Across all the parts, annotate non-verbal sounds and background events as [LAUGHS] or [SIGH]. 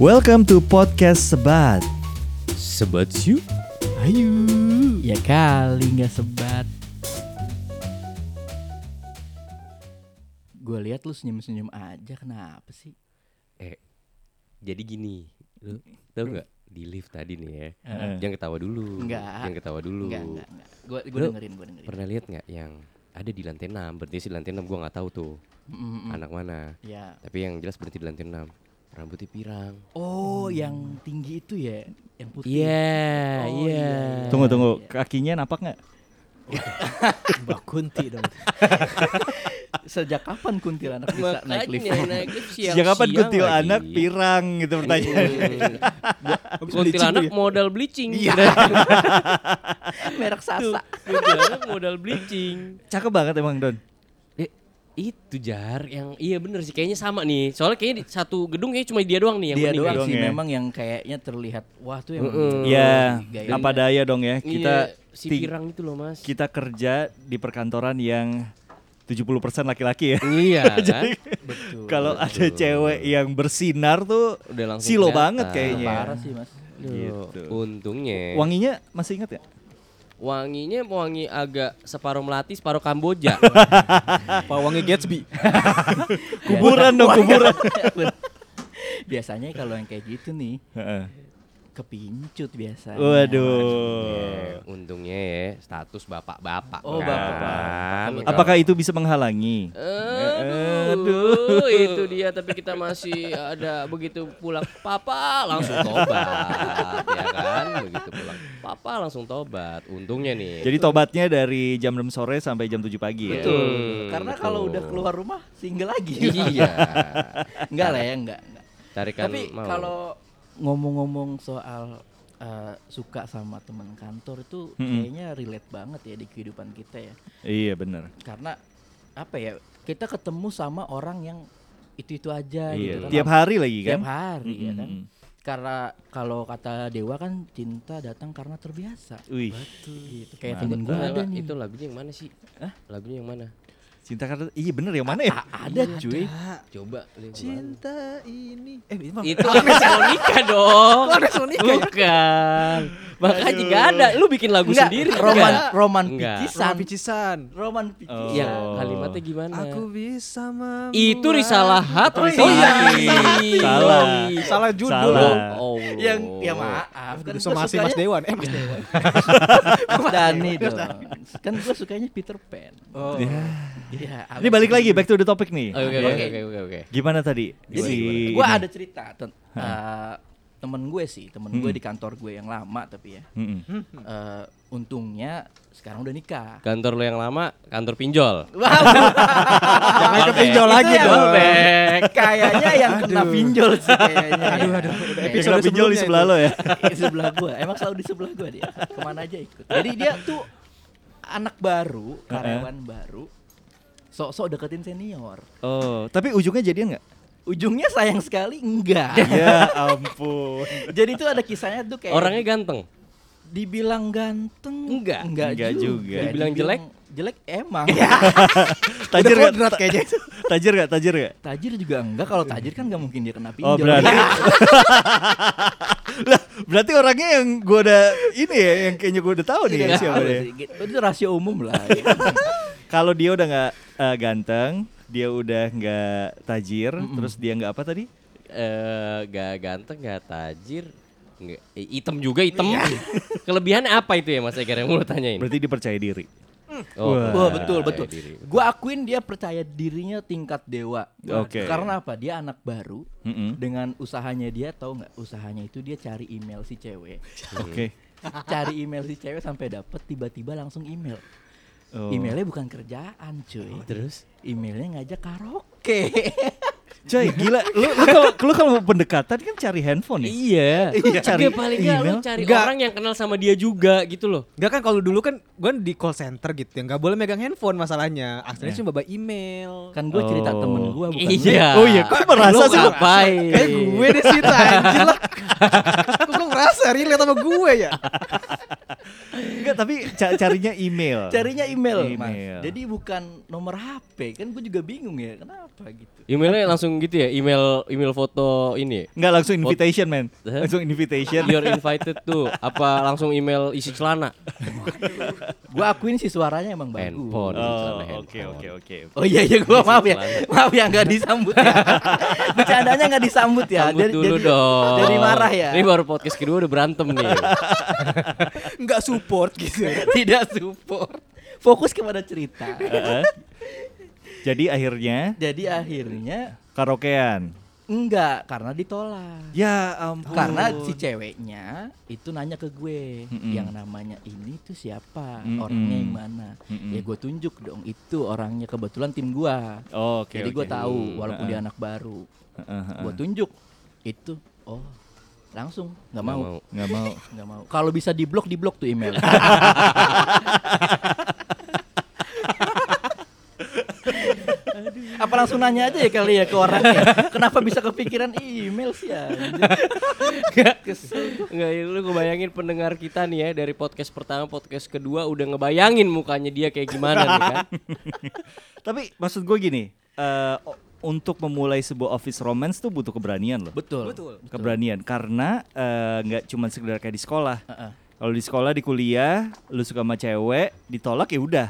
Welcome to podcast Sebat. Sebat you? Ayo. Ya kali nggak sebat. Gue lihat lu senyum-senyum aja kenapa sih? Eh, jadi gini, lu tau nggak di lift tadi nih ya? Heeh. Jangan ketawa dulu. Enggak. Jangan ketawa dulu. Enggak, enggak, enggak. Gue gue Lu dengerin, gue dengerin. Pernah lihat nggak yang ada di lantai 6 berarti sih di lantai 6 gua nggak tahu tuh Mm, mm. anak mana Ya. tapi yang jelas berarti di lantai 6 rambutnya pirang Oh, yang tinggi itu ya, yang putih. iya Oh, iya iya. Tunggu tunggu, kakinya napak nggak? Mbak Kunti dong. [LAUGHS] Sejak kapan kuntilanak bisa naik lift? naik lift Iya, siang Iya. Sejak kapan kuntilanak pirang gitu pertanyaan. kuntilanak modal bleaching iya [LAUGHS] Merek Sasa. kuntilanak modal bleaching [LAUGHS] Cakep banget emang Don. Eh, itu jar yang iya bener sih kayaknya sama nih soalnya kayaknya di satu gedung kayaknya cuma dia Iya doang nih yang Dia kuning doang doang sih ya. memang yang kayaknya terlihat wah tuh emang Mm-mm. Ya, gaya- apa daya dong ya. Iya, Kita si ti- pirang itu loh mas kita kerja di perkantoran yang 70% laki-laki ya. [LAUGHS] [LAUGHS] iya kan betul. Kalau ada cewek yang bersinar tuh udah langsung silo kelihatan. banget Parah kayaknya. sih, Mas. Aduh, Gitu. untungnya Wanginya masih ingat ya? Iya. wanginya wangi agak separuh melati separuh [LAUGHS] kamboja Pawangnya Gatsby. [LAUGHS] Kuburan Iya. dong, [LAUGHS] kuburan. Biasanya kalau yang kayak gitu nih Heeh. kepincut biasa. Iya. Waduh. untungnya ya status bapak-bapak Oh, kan. bapak. Kalau- Apakah itu bisa menghalangi? Aduh, itu dia tapi kita masih ada begitu pulang papa langsung tobat ya kan begitu pulang papa langsung tobat untungnya nih Jadi tobatnya dari jam 6 sore sampai jam 7 pagi ya. Betul. Hmm, Karena kalau betul. udah keluar rumah single lagi. iya [LAUGHS] enggak lah ya, enggak. enggak. tarikan Tapi mau. kalau ngomong-ngomong soal eh, suka sama teman kantor itu Mm-mm. kayaknya relate banget ya di kehidupan kita ya. Iya benar. Karena apa ya? Kita ketemu sama orang yang itu-itu aja Iya. gitu kan. Tiap hari lagi kan? Tiap hari ya kan. Mm-mm. Karena kalau kata Dewa kan cinta datang karena terbiasa. Wih, Gitu. Kayak Nah, temen gue Nah, ada nih. itu lagunya yang mana sih lagunya yang mana cinta karena iya bener yang mana ya? Ada cuy. coba lu yang Cinta ini. Eh, ini kemarin. itu Agnes Monica dong ya? bukan makanya juga ada lu bikin lagu Enggak, sendiri Roman Enggak? Roman Enggak. Picisan. Picisan. Oh. Roman Picisan. ya kalimatnya gimana Aku bisa membuat. Iya. itu risalah hat Oh, Risalah iya. Hati. Salah. Salah judul. Salah. Oh, Allah. Yang ya maaf kan Aduh, gua Sama si Mas [LAUGHS] sukanya Dewan. Eh, Mas Dewan. Dani dong. Kan gue sukanya Peter Pan. Oh. Iya. Ini balik lagi back to the topic nih. Oke Ya. oke oke oke oke. Gimana tadi? Jadi Si- gue ini. ada cerita ten- eh, temen gue sih, temen gue di Hmm. kantor gue yang lama tapi ya. Mm-mm. Eh, untungnya sekarang udah nikah. Kantor lu yang lama, kantor pinjol. [LAUGHS] Jangan ke pinjol lagi yang dong. Eh, Back. Kayaknya yang kena pinjol sih kayaknya. Aduh, aduh. Iya. Udah Episode Episode pinjol di sebelumnya sebelah itu. lo ya. [LAUGHS] di sebelah gua. Emang selalu di sebelah gua dia. Kemana aja ikut. Jadi dia tuh anak baru, karyawan baru. Sok-sok deketin senior. Oh, tapi ujungnya jadian [LAUGHS] nggak? Ujungnya sayang sekali enggak. ya ampun. [LAUGHS] Jadi tuh ada kisahnya tuh kayak Orangnya ganteng. dibilang ganteng Enggak. enggak, Enggak juga. Iya. juga. Dibilang jelek? jelek emang. Tajir nggak? kodrat Ta- [LAUGHS] Tajir nggak? Tajir nggak? [LAUGHS] Tajir juga enggak kalau tajir kan nggak mungkin dia kena Oh pinjol. [LAUGHS] berarti [LAUGHS] Lah, berarti orangnya yang gue udah ini ya yang kayaknya gue udah tahu nih ya, Enggak siapa tahu dia. sih. Gitu. Itu rahasia umum lah. ya. Kalau dia udah nggak eh, ganteng, dia udah nggak tajir, terus dia nggak apa tadi? Eh, gak ganteng, gak tajir, nggak eh, item juga item. [LAUGHS] Kelebihan apa itu ya Mas Egar yang mau lu tanyain? Oh, Berarti dia percaya diri. Wah, betul betul. percaya diri. Gua akuin dia percaya dirinya tingkat dewa. Nah, Oke. Karena apa? Dia anak baru. Mm-mm. Dengan usahanya dia tahu nggak? Usahanya itu dia cari email si cewek. Oke. cari email si cewek sampai dapet tiba-tiba langsung email. Oh. Emailnya bukan kerjaan, cuy. Terus? Emailnya ngajak karaoke. Coy, gila. Lu lu kalau lu kalau mau pendekatan kan cari handphone ya. Iya. Lu cari Cari paling nggak lu email. cari Nggak. orang yang kenal sama dia juga gitu loh. Enggak kan kalau dulu kan gue di call center gitu ya nggak boleh megang handphone masalahnya akhirnya cuma bawa email kan gue cerita Oh. temen gue bukan Iya. lu. [LAUGHS] Oh iya, kok merasa Lu sih lu? [LAUGHS] Iya. ngapain? kayak gue deh sih anjir lah kok gue kerasa relate sama gue ya. Enggak, tapi ca- carinya email. Carinya email, Email. Mas. Jadi bukan nomor HP. Kan gue juga bingung ya, kenapa gitu. Emailnya langsung gitu ya, email email foto ini. Enggak langsung invitation, men. Hah? Langsung invitation. You're invited tuh. Apa langsung email isi celana? Gue akuin sih suaranya emang bagus. Handphone. Oh, Celana oke handphone. oke oke. Oh iya iya gua maaf ya. Celana. Maaf ya nggak disambut [LAUGHS] ya. Bercandanya nggak disambut ya. Sambut dulu dong. Jadi marah ya. Ini baru podcast kedua udah berantem nih. Enggak support gitu. [LAUGHS] Tidak support. Fokus kepada cerita. Heeh. Jadi akhirnya Jadi akhirnya karaokean. enggak karena ditolak. Ya ampun. Karena si ceweknya itu nanya ke gue Mm-mm. yang namanya ini tuh siapa, Mm-mm. orangnya yang mana. Mm-mm. Ya gue tunjuk dong itu orangnya kebetulan tim gua. Oh, oke. Jadi gue oke. tahu walaupun Heeh. dia anak baru. Heeh, heeh. Gue tunjuk itu oh langsung nggak mau. nggak [LAUGHS] mau. Nggak mau. Kalau bisa diblok diblok tuh [LAUGHS] email. [LAUGHS] Apa langsung nanya aja ya kali ya ke orangnya. Kenapa bisa kepikiran email sih [LAUGHS] ya? Kesel. Enggak, ya, lu ngebayangin pendengar kita nih ya dari podcast pertama, podcast kedua udah ngebayangin mukanya dia kayak gimana nih kan. [LAUGHS] Tapi maksud gue gini, eh, o- untuk memulai sebuah office romance tuh butuh keberanian loh. Betul. Betul. Keberanian karena eh, nggak cuma sekedar kayak di sekolah. Heeh. Kalau di sekolah, di kuliah, lu suka sama cewek, ditolak ya udah.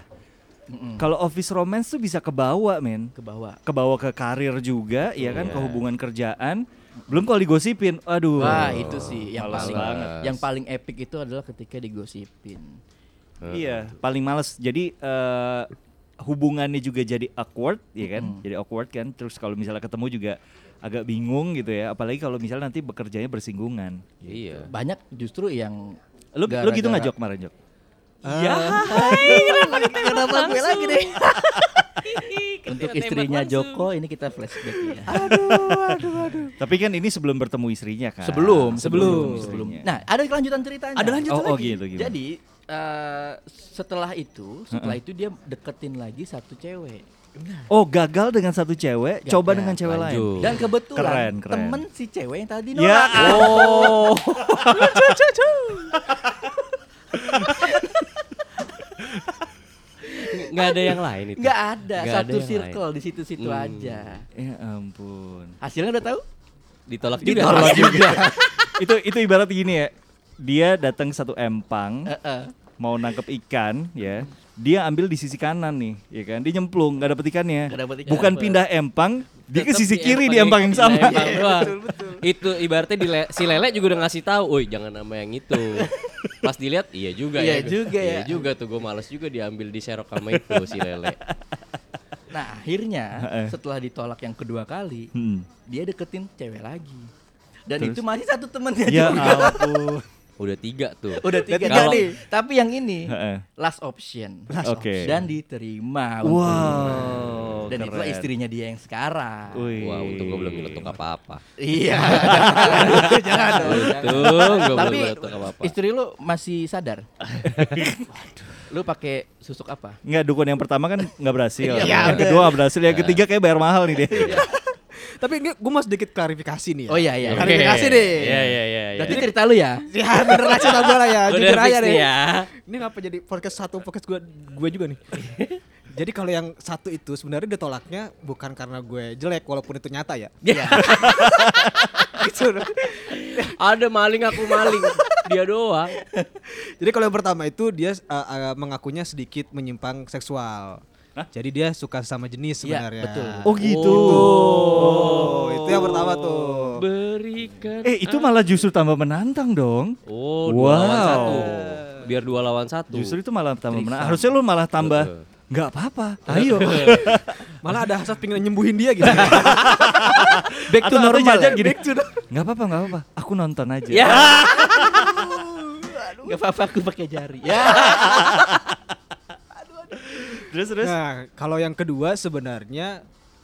Mm-mm. Kalau office romance tuh bisa kebawa, men. Ke bawah. Kebawa ke karir juga, ya kan, Iya. ke hubungan kerjaan. Belum kalau digosipin, aduh. Wah, itu sih yang males paling banget. yang paling epic itu adalah ketika digosipin. Iya, paling males. Jadi eh, hubungannya juga jadi awkward, ya kan? Jadi awkward kan. Terus kalau misalnya ketemu juga agak bingung gitu ya. Apalagi kalau misalnya nanti bekerjanya bersinggungan. Iya. Banyak justru yang Lu lu gitu nggak gara-gara- Jok kemarin Jok? Kenapa gue lagi deh? Untuk istrinya Joko ini kita flashback ya. Tapi kan ini sebelum bertemu istrinya kan? Sebelum, sebelum, sebelum, sebelum. istrinya. Nah, ada kelanjutan ceritanya. Iya. Ada lanjutan Oh, oh, lagi? gitu, gimana? Jadi eh, setelah itu, setelah itu dia deketin lagi satu cewek. Oh gagal dengan satu cewek, Gagal. coba dengan cewek Lanjut. lain. Dan Keren, kebetulan keren. temen si cewek yang tadi Ya. [LAUGHS] nolak. Oh. Enggak ada yang lain itu. Nggak ada, Nggak satu yang circle di situ-situ Hmm. aja. ya ampun. Hasilnya udah tahu? lain. Ditolak juga. Ditolak juga. [LAUGHS] itu itu ibarat gini ya. Dia datang ke satu empang, Heeh. mau nangkep ikan ya dia ambil di sisi kanan nih ya kan dia nyemplung nggak dapet ikannya Nggak dapet ikan. bukan pindah empang dia ke Tetep sisi di kiri di empang empang- yang sama di empang doang. Iya, Itu ibaratnya di le- si lele juga udah ngasih tahu, "Woi, jangan sama yang itu." Pas dilihat, iya juga Iya ya. juga Iya ya. juga tuh gue males juga diambil di serok sama itu si lele. Nah, akhirnya Heeh. setelah ditolak yang kedua kali, Hmm. dia deketin cewek lagi. Dan Terus? itu masih satu temennya ya juga. ampun Udah tiga tuh. Udah tiga Kalau- nih. Tapi yang ini Heeh. last option. Oke. Dan diterima. wow Dan itu Oh, keren. istrinya dia yang sekarang. Wih. Wah, untung gue belum nyelotok apa-apa. Iya. Jangan, jangan dong, jangan. Untung gue belum Tapi nyelotok apa-apa. istri lu masih sadar. Waduh. Lu pakai susuk apa? nggak dukun yang pertama kan nggak berhasil Iya, yang bener. kedua nggak berhasil yang ketiga kayak bayar mahal nih dia Tapi ini gue mau sedikit klarifikasi nih ya. Oh iya iya. Oke. Klarifikasi deh. Iya, iya, iya. iya. Berarti cerita lu ya? Ya bener aja sama gue lah ya, Udah jujur fix aja deh. nih ya. Ini ngapa jadi podcast satu podcast gue gue juga nih. jadi kalau yang satu itu sebenarnya ditolaknya bukan karena gue jelek walaupun itu nyata ya. [LAUGHS] Iya. Gitu. Ada maling aku maling. Dia doang. jadi kalau yang pertama itu dia eh, eh, mengakunya sedikit menyimpang seksual. Jadi dia suka sama jenis Iya, sebenarnya. betul. oh gitu Oh, itu yang pertama tuh. Berikan. eh itu malah justru tambah menantang dong Oh, Wow. dua lawan satu. Biar dua lawan satu. justru itu malah tambah menantang harusnya lu malah tambah Betul. nggak apa-apa ayo Malah ada hasrat pengen nyembuhin dia gitu. [LAUGHS] Back Atau- to atau normal. jajan ya? gini. Back to normal. [LAUGHS] nggak apa-apa nggak apa-apa aku nonton aja Ya. Gak apa-apa aku pakai jari. Ya. terus terus Nah, kalau yang kedua sebenarnya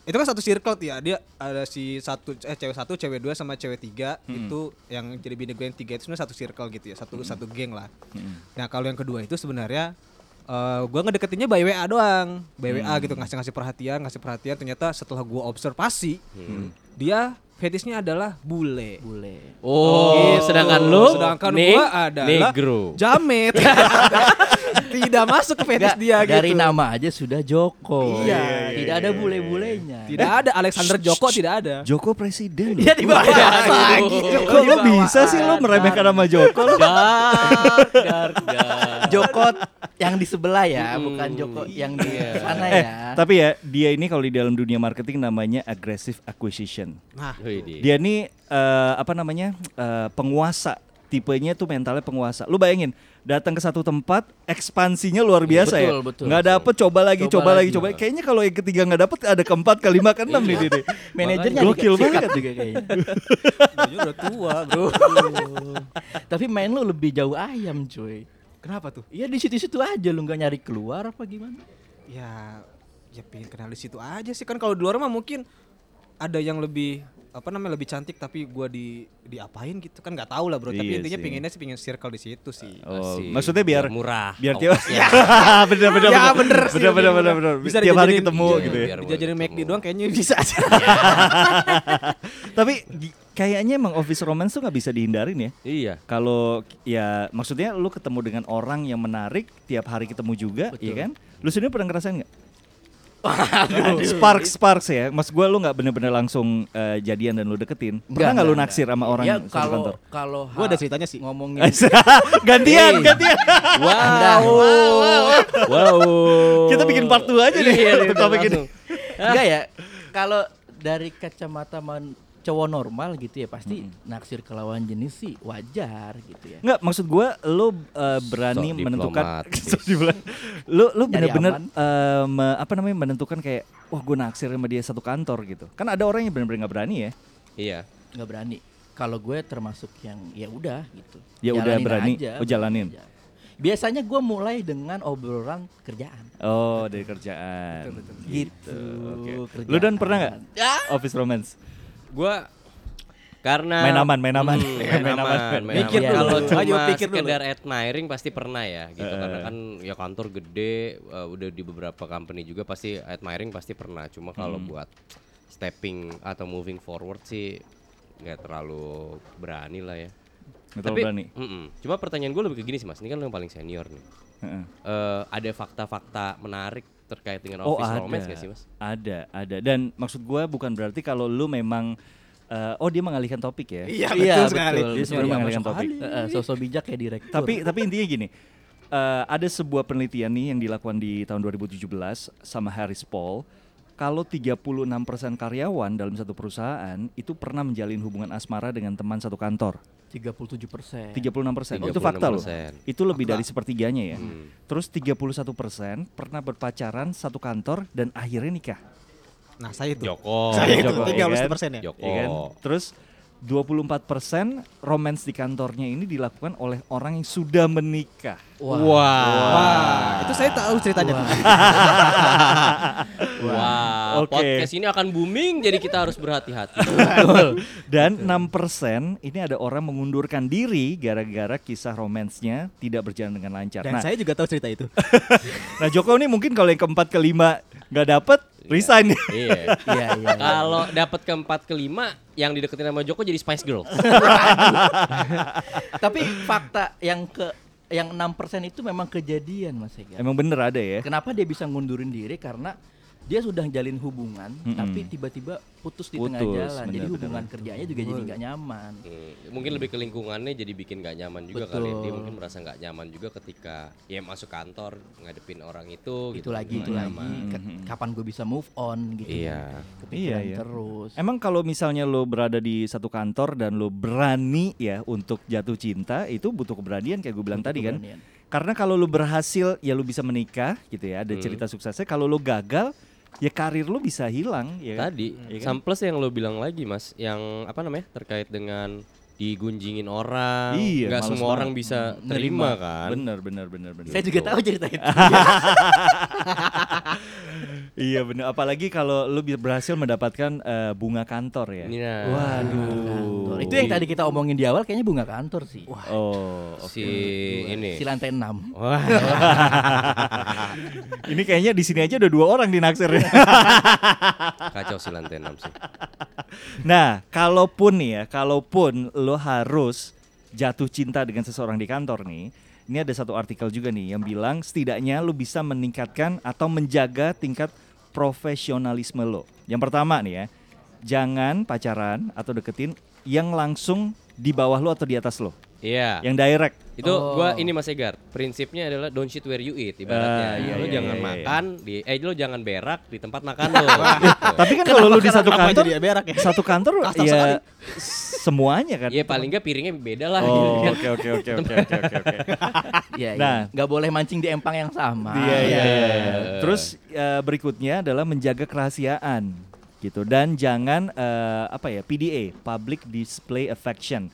itu kan satu circle tuh ya. Dia ada si satu eh, cewek satu, cewek dua sama cewek tiga itu yang jadi bini gue yang tiga itu sebenarnya satu circle gitu ya. Satu satu geng lah. Nah, kalau yang kedua itu sebenarnya eh, gue ngedeketinnya by WA doang. By WA gitu ngasih-ngasih perhatian, ngasih perhatian ternyata setelah gue observasi dia fetishnya adalah bule. bule Oh, sedangkan lu sedangkan ne- gua adalah negro. jamet. Tidak masuk ke fetish dia gitu. dari nama aja sudah Joko Iya, tidak ada bule-bulenya Tidak ada Alexander Joko tidak ada. Joko presiden loh. [LAUGHS] ya di bawah Iya. lagi. Kok lo bisa sih lo meremehkan nama Joko lo? [LAUGHS] Dark, dark, dark. Joko yang di sebelah ya Mm, bukan Joko yang di iya. sana Eh, ya tapi ya dia ini kalau di dalam dunia marketing namanya aggressive acquisition. Nah, Wih, di- Dia ini eh, apa namanya eh, penguasa tipenya tuh mentalnya penguasa. Lu bayangin datang ke satu tempat ekspansinya luar biasa Betul, ya. betul, nggak betul. dapet coba lagi, Coba coba, lagi, lagi. coba. Kayaknya kalau yang ketiga nggak dapet ada keempat, kelima, keenam nih Didi. manajernya Gokil dikasih banget. sikat juga [LAUGHS] kayaknya dia udah tua, bro. tapi main lu lebih jauh ayam cuy Kenapa tuh? Iya di situ-situ aja lu nggak nyari keluar apa gimana? Ya, ya pengen kenal di situ aja sih kan kalau di luar mah mungkin ada yang lebih apa namanya lebih cantik tapi gua di diapain gitu kan nggak tahu lah bro Iya tapi intinya sih. pengennya sih pengen circle di situ sih Oh, Asik. maksudnya biar Biar murah. Biar Oh, tiap iya. [LAUGHS] bener bener Ya, bener bener sih, Ah, bener bener bener, bener bener. bener. Bisa tiap hari dijadiin- ketemu iya, gitu ya. biar Bisa jadi ketemu. McD doang kayaknya bisa [LAUGHS] aja Tapi di- kayaknya emang office romance tuh nggak bisa dihindarin ya. Iya. Kalau ya maksudnya lu ketemu dengan orang yang menarik tiap hari ketemu juga, ya kan? Lu sendiri pernah ngerasain nggak? spark [LAUGHS] sparks ya, mas gue lu nggak bener-bener langsung eh, jadian dan lu deketin. Pernah nggak lu naksir sama orang ya, satu kantor? kalau kalau Gua ada ha- ceritanya sih. ngomongin [LAUGHS] gantian, gantian. Anda. Wow. Wow. Kita bikin part 2 aja deh. Iya, untuk topik ini. langsung. enggak ya kalau dari kacamata man- cowok normal gitu ya pasti naksir ke lawan jenis sih wajar gitu ya Nggak, maksud gue lu eh, berani Sok menentukan [LAUGHS] diplomatis. Sok diplomatis. lu lu Nyari bener-bener aman. eh, me- apa namanya menentukan kayak wah gue naksir sama dia satu kantor gitu. Kan ada orang yang bener-bener nggak berani ya. Iya. nggak berani kalau gue termasuk yang ya udah gitu Ya udah Jalanin berani. aja, Oh, jalanin. aja. biasanya gue mulai dengan obrolan kerjaan Oh, dari kerjaan. Gitu. Oke. Kerjaan. Ya, Lu dan pernah nggak office romance? Gua karena Main aman, main aman. Hmm, main Main aman, aman, main main Mikir aman. dulu. Kalau cuma Ayo pikir dulu. sekedar admiring pasti pernah ya gitu karena kan ya kantor gede eh, udah di beberapa company juga pasti admiring pasti pernah. Cuma kalau buat stepping atau moving forward sih nggak terlalu berani lah ya. Nggak terlalu berani. mm-mm. Cuma pertanyaan gue lebih ke gini sih mas, ini kan lo yang paling senior nih. Heeh. Eh, ada fakta-fakta menarik terkait dengan Oh office ada, romance gak sih mas? ada, ada. Dan maksud gue bukan berarti kalau lu memang, eh, oh dia mengalihkan topik ya. Iya betul sekali. Dia sebenarnya Iya, mengalihkan masuk topik. sekali. Eh, eh, sosok bijak ya direktur tapi tapi intinya gini eh, ada sebuah penelitian nih yang dilakukan di tahun 2017 sama Harris Paul kalau 36% karyawan dalam satu perusahaan itu pernah menjalin hubungan asmara dengan teman satu kantor 37 persen 36%, Oh, itu fakta loh 36%. itu lebih dari sepertiganya ya terus 31% pernah berpacaran satu kantor dan akhirnya nikah Nah, saya itu. Joko. Saya itu Joko, iya kan? 30% ya. Joko. ya kan? terus 24% romance di kantornya ini dilakukan oleh orang yang sudah menikah Wah. Wah. Wah, itu saya tahu ceritanya. Wah, Oke. podcast ini akan booming jadi kita harus berhati-hati. [LAUGHS] Dan 6% ini ada orang mengundurkan diri gara-gara kisah romansnya tidak berjalan dengan lancar. Dan Nah, saya juga tahu cerita itu. [LAUGHS] nah Joko ini mungkin kalau yang keempat kelima nggak dapet, resign. [LAUGHS] iya. iya iya Kalau dapat keempat kelima yang dideketin sama Joko jadi Spice Girl. tapi fakta yang ke yang 6 persen itu memang kejadian mas Ega Emang bener ada ya? Kenapa dia bisa ngundurin diri? Karena dia sudah jalin hubungan, Mm-mm. tapi tiba-tiba putus di tengah Putus, jalan. jadi benar-benar. hubungan kerjanya juga jadi nggak nyaman. Hmm, mungkin lebih ke lingkungannya jadi bikin gak nyaman juga Betul. kali ya. dia mungkin merasa nggak nyaman juga ketika ya masuk kantor ngadepin orang itu Itu gitu. lagi, Nggak itu lagi. nyaman. Ke- Kapan gue bisa move on gitu? Iya. Kepikiran Iya, iya. terus. Emang kalau misalnya lo berada di satu kantor dan lo berani ya untuk jatuh cinta itu butuh keberanian kayak gue Gitu bilang tadi kan. keberanian. Karena kalau lo berhasil ya lo bisa menikah gitu ya, ada cerita suksesnya. Kalau lo gagal ya karir lo bisa hilang ya. kan? Tadi Iya kan? sam plus yang lo bilang lagi Mas, yang apa namanya? terkait dengan digunjingin orang, Iya, nggak males semua banget. orang bisa terima kan. Bener bener bener bener. Saya juga tahu cerita [LAUGHS] itu. Iya bener, apalagi kalau lu bi- berhasil mendapatkan eh, bunga kantor ya. Iya. Waduh. Itu yang tadi kita omongin di awal, kayaknya bunga kantor sih. Wah, Oh, oke. Si ini. si [LAUGHS] lantai 6 [LAUGHS] Wah. ya. ini kayaknya di sini aja udah dua orang di naksir. Kan kacau sih lantai 6 sih. Nah, kalaupun nih ya, kalaupun lo harus jatuh cinta dengan seseorang di kantor nih, ini ada satu artikel juga nih yang bilang setidaknya lo bisa meningkatkan atau menjaga tingkat profesionalisme lo. Yang pertama nih ya, jangan pacaran atau deketin yang langsung di bawah lo atau di atas lo, Ah. Iya. yang direct. Itu Oh. gua ini Mas Egar. Prinsipnya adalah don't shit where you eat Ah, ibaratnya. iya, lu iya, jangan iya, iya. makan di eh lu jangan berak di tempat makan [LAUGHS] lu. gitu. Tapi kan kalau lo di satu Kenapa kantor, jadi ya berak ya? satu kantor Kasar sekali. ya semuanya kan. Iya paling nggak piringnya beda lah gitu Oh, kan. oke oke oke oke oke oke oke. Iya, Nah. iya. Nggak boleh mancing di empang yang sama. Iya iya. iya, iya. Terus eh, berikutnya adalah menjaga kerahasiaan gitu dan jangan eh, apa ya PDA public display affection.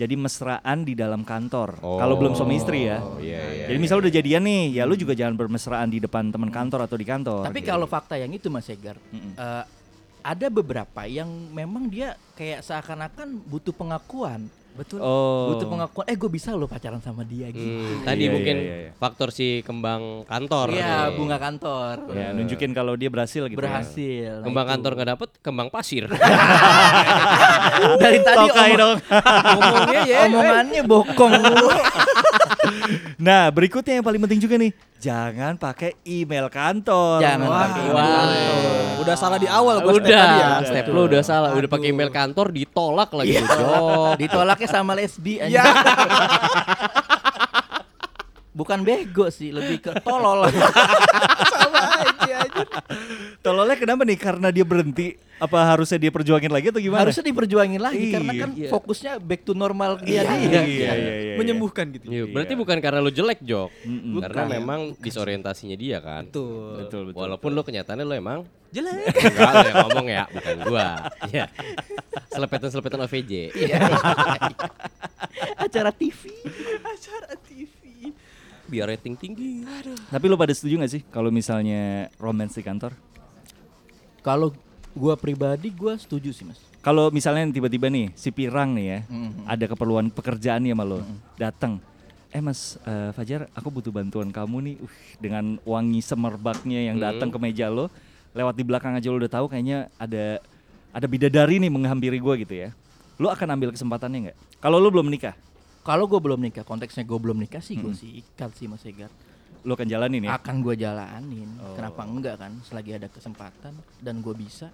Jadi mesraan di dalam kantor. Oh. Kalau belum suami istri ya. Oh, iya, iya, Jadi misalnya udah jadian nih, ya lu juga jangan bermesraan di depan teman kantor atau di kantor. Tapi gitu. kalau fakta yang itu Mas Egar, eh, ada beberapa yang memang dia kayak seakan-akan butuh pengakuan. Betul. Oh. Butuh pengakuan. Eh, gue bisa loh pacaran sama dia gitu. Hmm, tadi Iya, mungkin iya, iya, iya. faktor si kembang kantor. Iya, nih. bunga kantor. ya nunjukin kalau dia berhasil gitu. ya. Berhasil. Nah, Kembang itu. kantor nggak dapet, kembang [LAUGHS] pasir. [LAUGHS] Dari tadi Tokai omong- dong. omongnya ya, Iya. omongannya [LAUGHS] bokong lu. Nah, berikutnya yang paling penting juga nih, jangan pakai email kantor. Jangan pakai email wah. kantor. Udah salah di awal gua step tadi ya. udah, step lu udah salah, udah Aduh. Iya. pakai email kantor ditolak lagi. Dok. Ditolaknya sama lesbi anjing. [LAUGHS] Bukan bego sih, lebih ke tolol. Sama aja aja. Tololnya kenapa nih? Karena dia berhenti apa harusnya dia perjuangin lagi atau gimana? Harusnya diperjuangin lagi karena Iya. kan fokusnya back to normal iya, dia. dia. iya, iya, iya. Menyembuhkan gitu. Iya, berarti Iya. bukan karena lu jelek, Jok. Mm-mm. Karena memang disorientasinya dia kan. Betul. Betul, betul. Walaupun lu kenyataannya lu emang jelek. Enggak, lu yang ngomong ya, bukan gua. Iya. Selepetan-selepetan OVJ. Iya. Acara TV. Biar rating tinggi. Tapi lo pada setuju gak sih kalau misalnya romance di kantor? Kalau gua pribadi gua setuju sih, Mas. Kalau misalnya tiba-tiba nih si Pirang nih ya, ada keperluan pekerjaan nih sama lo, datang. Eh Mas eh, Fajar, aku butuh bantuan kamu nih uh, dengan wangi semerbaknya yang datang ke meja lo. Lewat di belakang aja lo udah tahu kayaknya ada ada bidadari nih menghampiri gua gitu ya. Lo akan ambil kesempatannya nggak? Kalau lo belum menikah, Kalau gua belum nikah, konteksnya gua belum nikah sih Mhm. gua sih ikat sih Mas Egar. lo akan jalanin ya. Akan gua jalanin. Oh. Kenapa enggak kan? Selagi ada kesempatan dan gua bisa.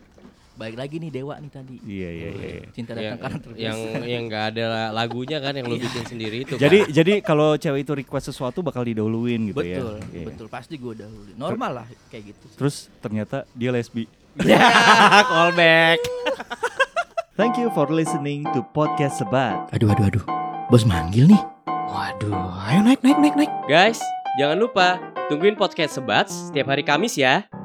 Baik lagi nih Dewa nih tadi. Iya iya iya. iya. Cinta datang Yang karena terbiasa. yang yang enggak ada lagunya kan yang lu bikin sendiri itu. Jadi [LAUGHS] kan. jadi kalau cewek itu request sesuatu bakal didahuluin gitu ya. betul, Iya. betul. Pasti gue dahulu. Normal lah kayak gitu. Terus ternyata dia lesbi. callback. Thank you for listening to podcast Sebat. Aduh, aduh, aduh. Bos manggil nih. Guys, jangan lupa tungguin podcast Sebats setiap hari Kamis ya.